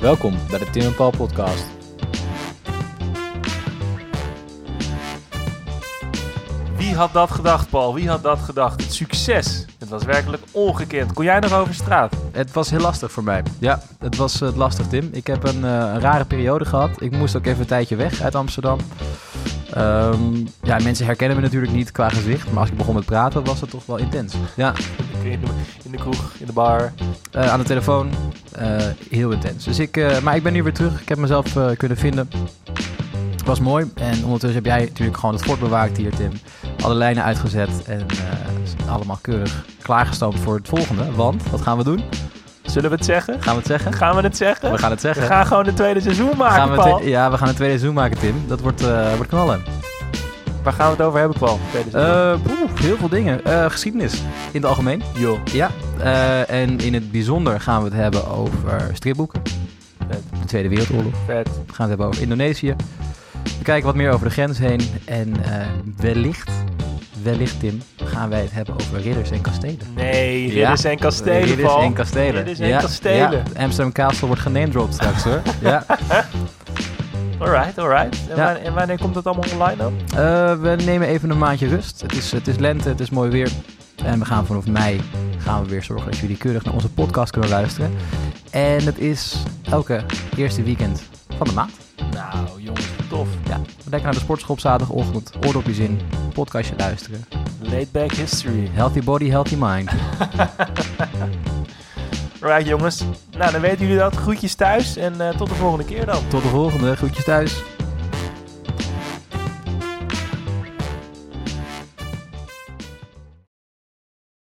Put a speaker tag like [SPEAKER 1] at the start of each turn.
[SPEAKER 1] Welkom bij de Tim en Paul podcast.
[SPEAKER 2] Wie had dat gedacht, Paul? Wie had dat gedacht? Het succes. Het was werkelijk ongekend. Kon jij nog over straat?
[SPEAKER 1] Het was heel lastig voor mij. Ja, het was eh, lastig, Tim. Ik heb een, eh, een rare periode gehad. Ik moest ook even een tijdje weg uit Amsterdam. Ehm, ja, mensen herkennen me natuurlijk niet qua gezicht, maar als ik begon met praten was het toch wel intens. Ja,
[SPEAKER 2] In de, in de kroeg, in de bar.
[SPEAKER 1] eh, aan de telefoon, eh, heel intens. Dus ik, eh, maar ik ben nu weer terug. Ik heb mezelf eh, kunnen vinden. Het was mooi. En ondertussen heb jij natuurlijk gewoon het fort bewaakt hier, Tim. Alle lijnen uitgezet en eh, allemaal keurig klaargestoomd voor het volgende. Want, wat gaan we doen?
[SPEAKER 2] Zullen we het zeggen?
[SPEAKER 1] Gaan we het zeggen?
[SPEAKER 2] Gaan we het zeggen?
[SPEAKER 1] We gaan het
[SPEAKER 2] We
[SPEAKER 1] zeggen.
[SPEAKER 2] gaan gewoon het tweede seizoen maken,
[SPEAKER 1] Gaan we het-
[SPEAKER 2] Paul.
[SPEAKER 1] ja, we gaan een tweede seizoen maken, Tim. Dat wordt, eh, wordt knallen.
[SPEAKER 2] Waar gaan we het over hebben, Paul? Tweede seizoen.
[SPEAKER 1] Eh, poeh, heel veel dingen. Eh, geschiedenis in het algemeen.
[SPEAKER 2] Joh,
[SPEAKER 1] Ja. Eh, en in het bijzonder gaan we het hebben over stripboeken. Eh,
[SPEAKER 2] Vet.
[SPEAKER 1] De Tweede Wereldoorlog.
[SPEAKER 2] vet.
[SPEAKER 1] We gaan het hebben over Indonesië. We kijken wat meer over de grens heen. En eh, wellicht, wellicht Tim, gaan wij het hebben over ridders en kastelen.
[SPEAKER 2] Nee,
[SPEAKER 1] Ja.
[SPEAKER 2] ridders en kastelen,
[SPEAKER 1] ridders
[SPEAKER 2] Paul.
[SPEAKER 1] en kastelen.
[SPEAKER 2] Ridders en kastelen.
[SPEAKER 1] ja. Amsterdam Castle wordt genamedropt straks hoor. ja.
[SPEAKER 2] Alright, alright.
[SPEAKER 1] Ja.
[SPEAKER 2] En, wa- en wanneer komt dat allemaal online dan?
[SPEAKER 1] Eh, we nemen even een maandje rust. Het is, het is lente, het is mooi weer. En we gaan vanaf mei gaan we weer zorgen dat jullie keurig naar onze podcast kunnen luisteren. En het is elke eerste weekend van de maand.
[SPEAKER 2] Nou, jongens, tof.
[SPEAKER 1] Ja, lekker naar de sportschool op zaterdagochtend. Oordopjes in, podcastje luisteren.
[SPEAKER 2] Late back history.
[SPEAKER 1] Healthy body, healthy mind.
[SPEAKER 2] Alright, jongens. Nou, dan weten jullie dat. Groetjes thuis en eh, tot de volgende keer dan.
[SPEAKER 1] Tot de volgende, groetjes thuis.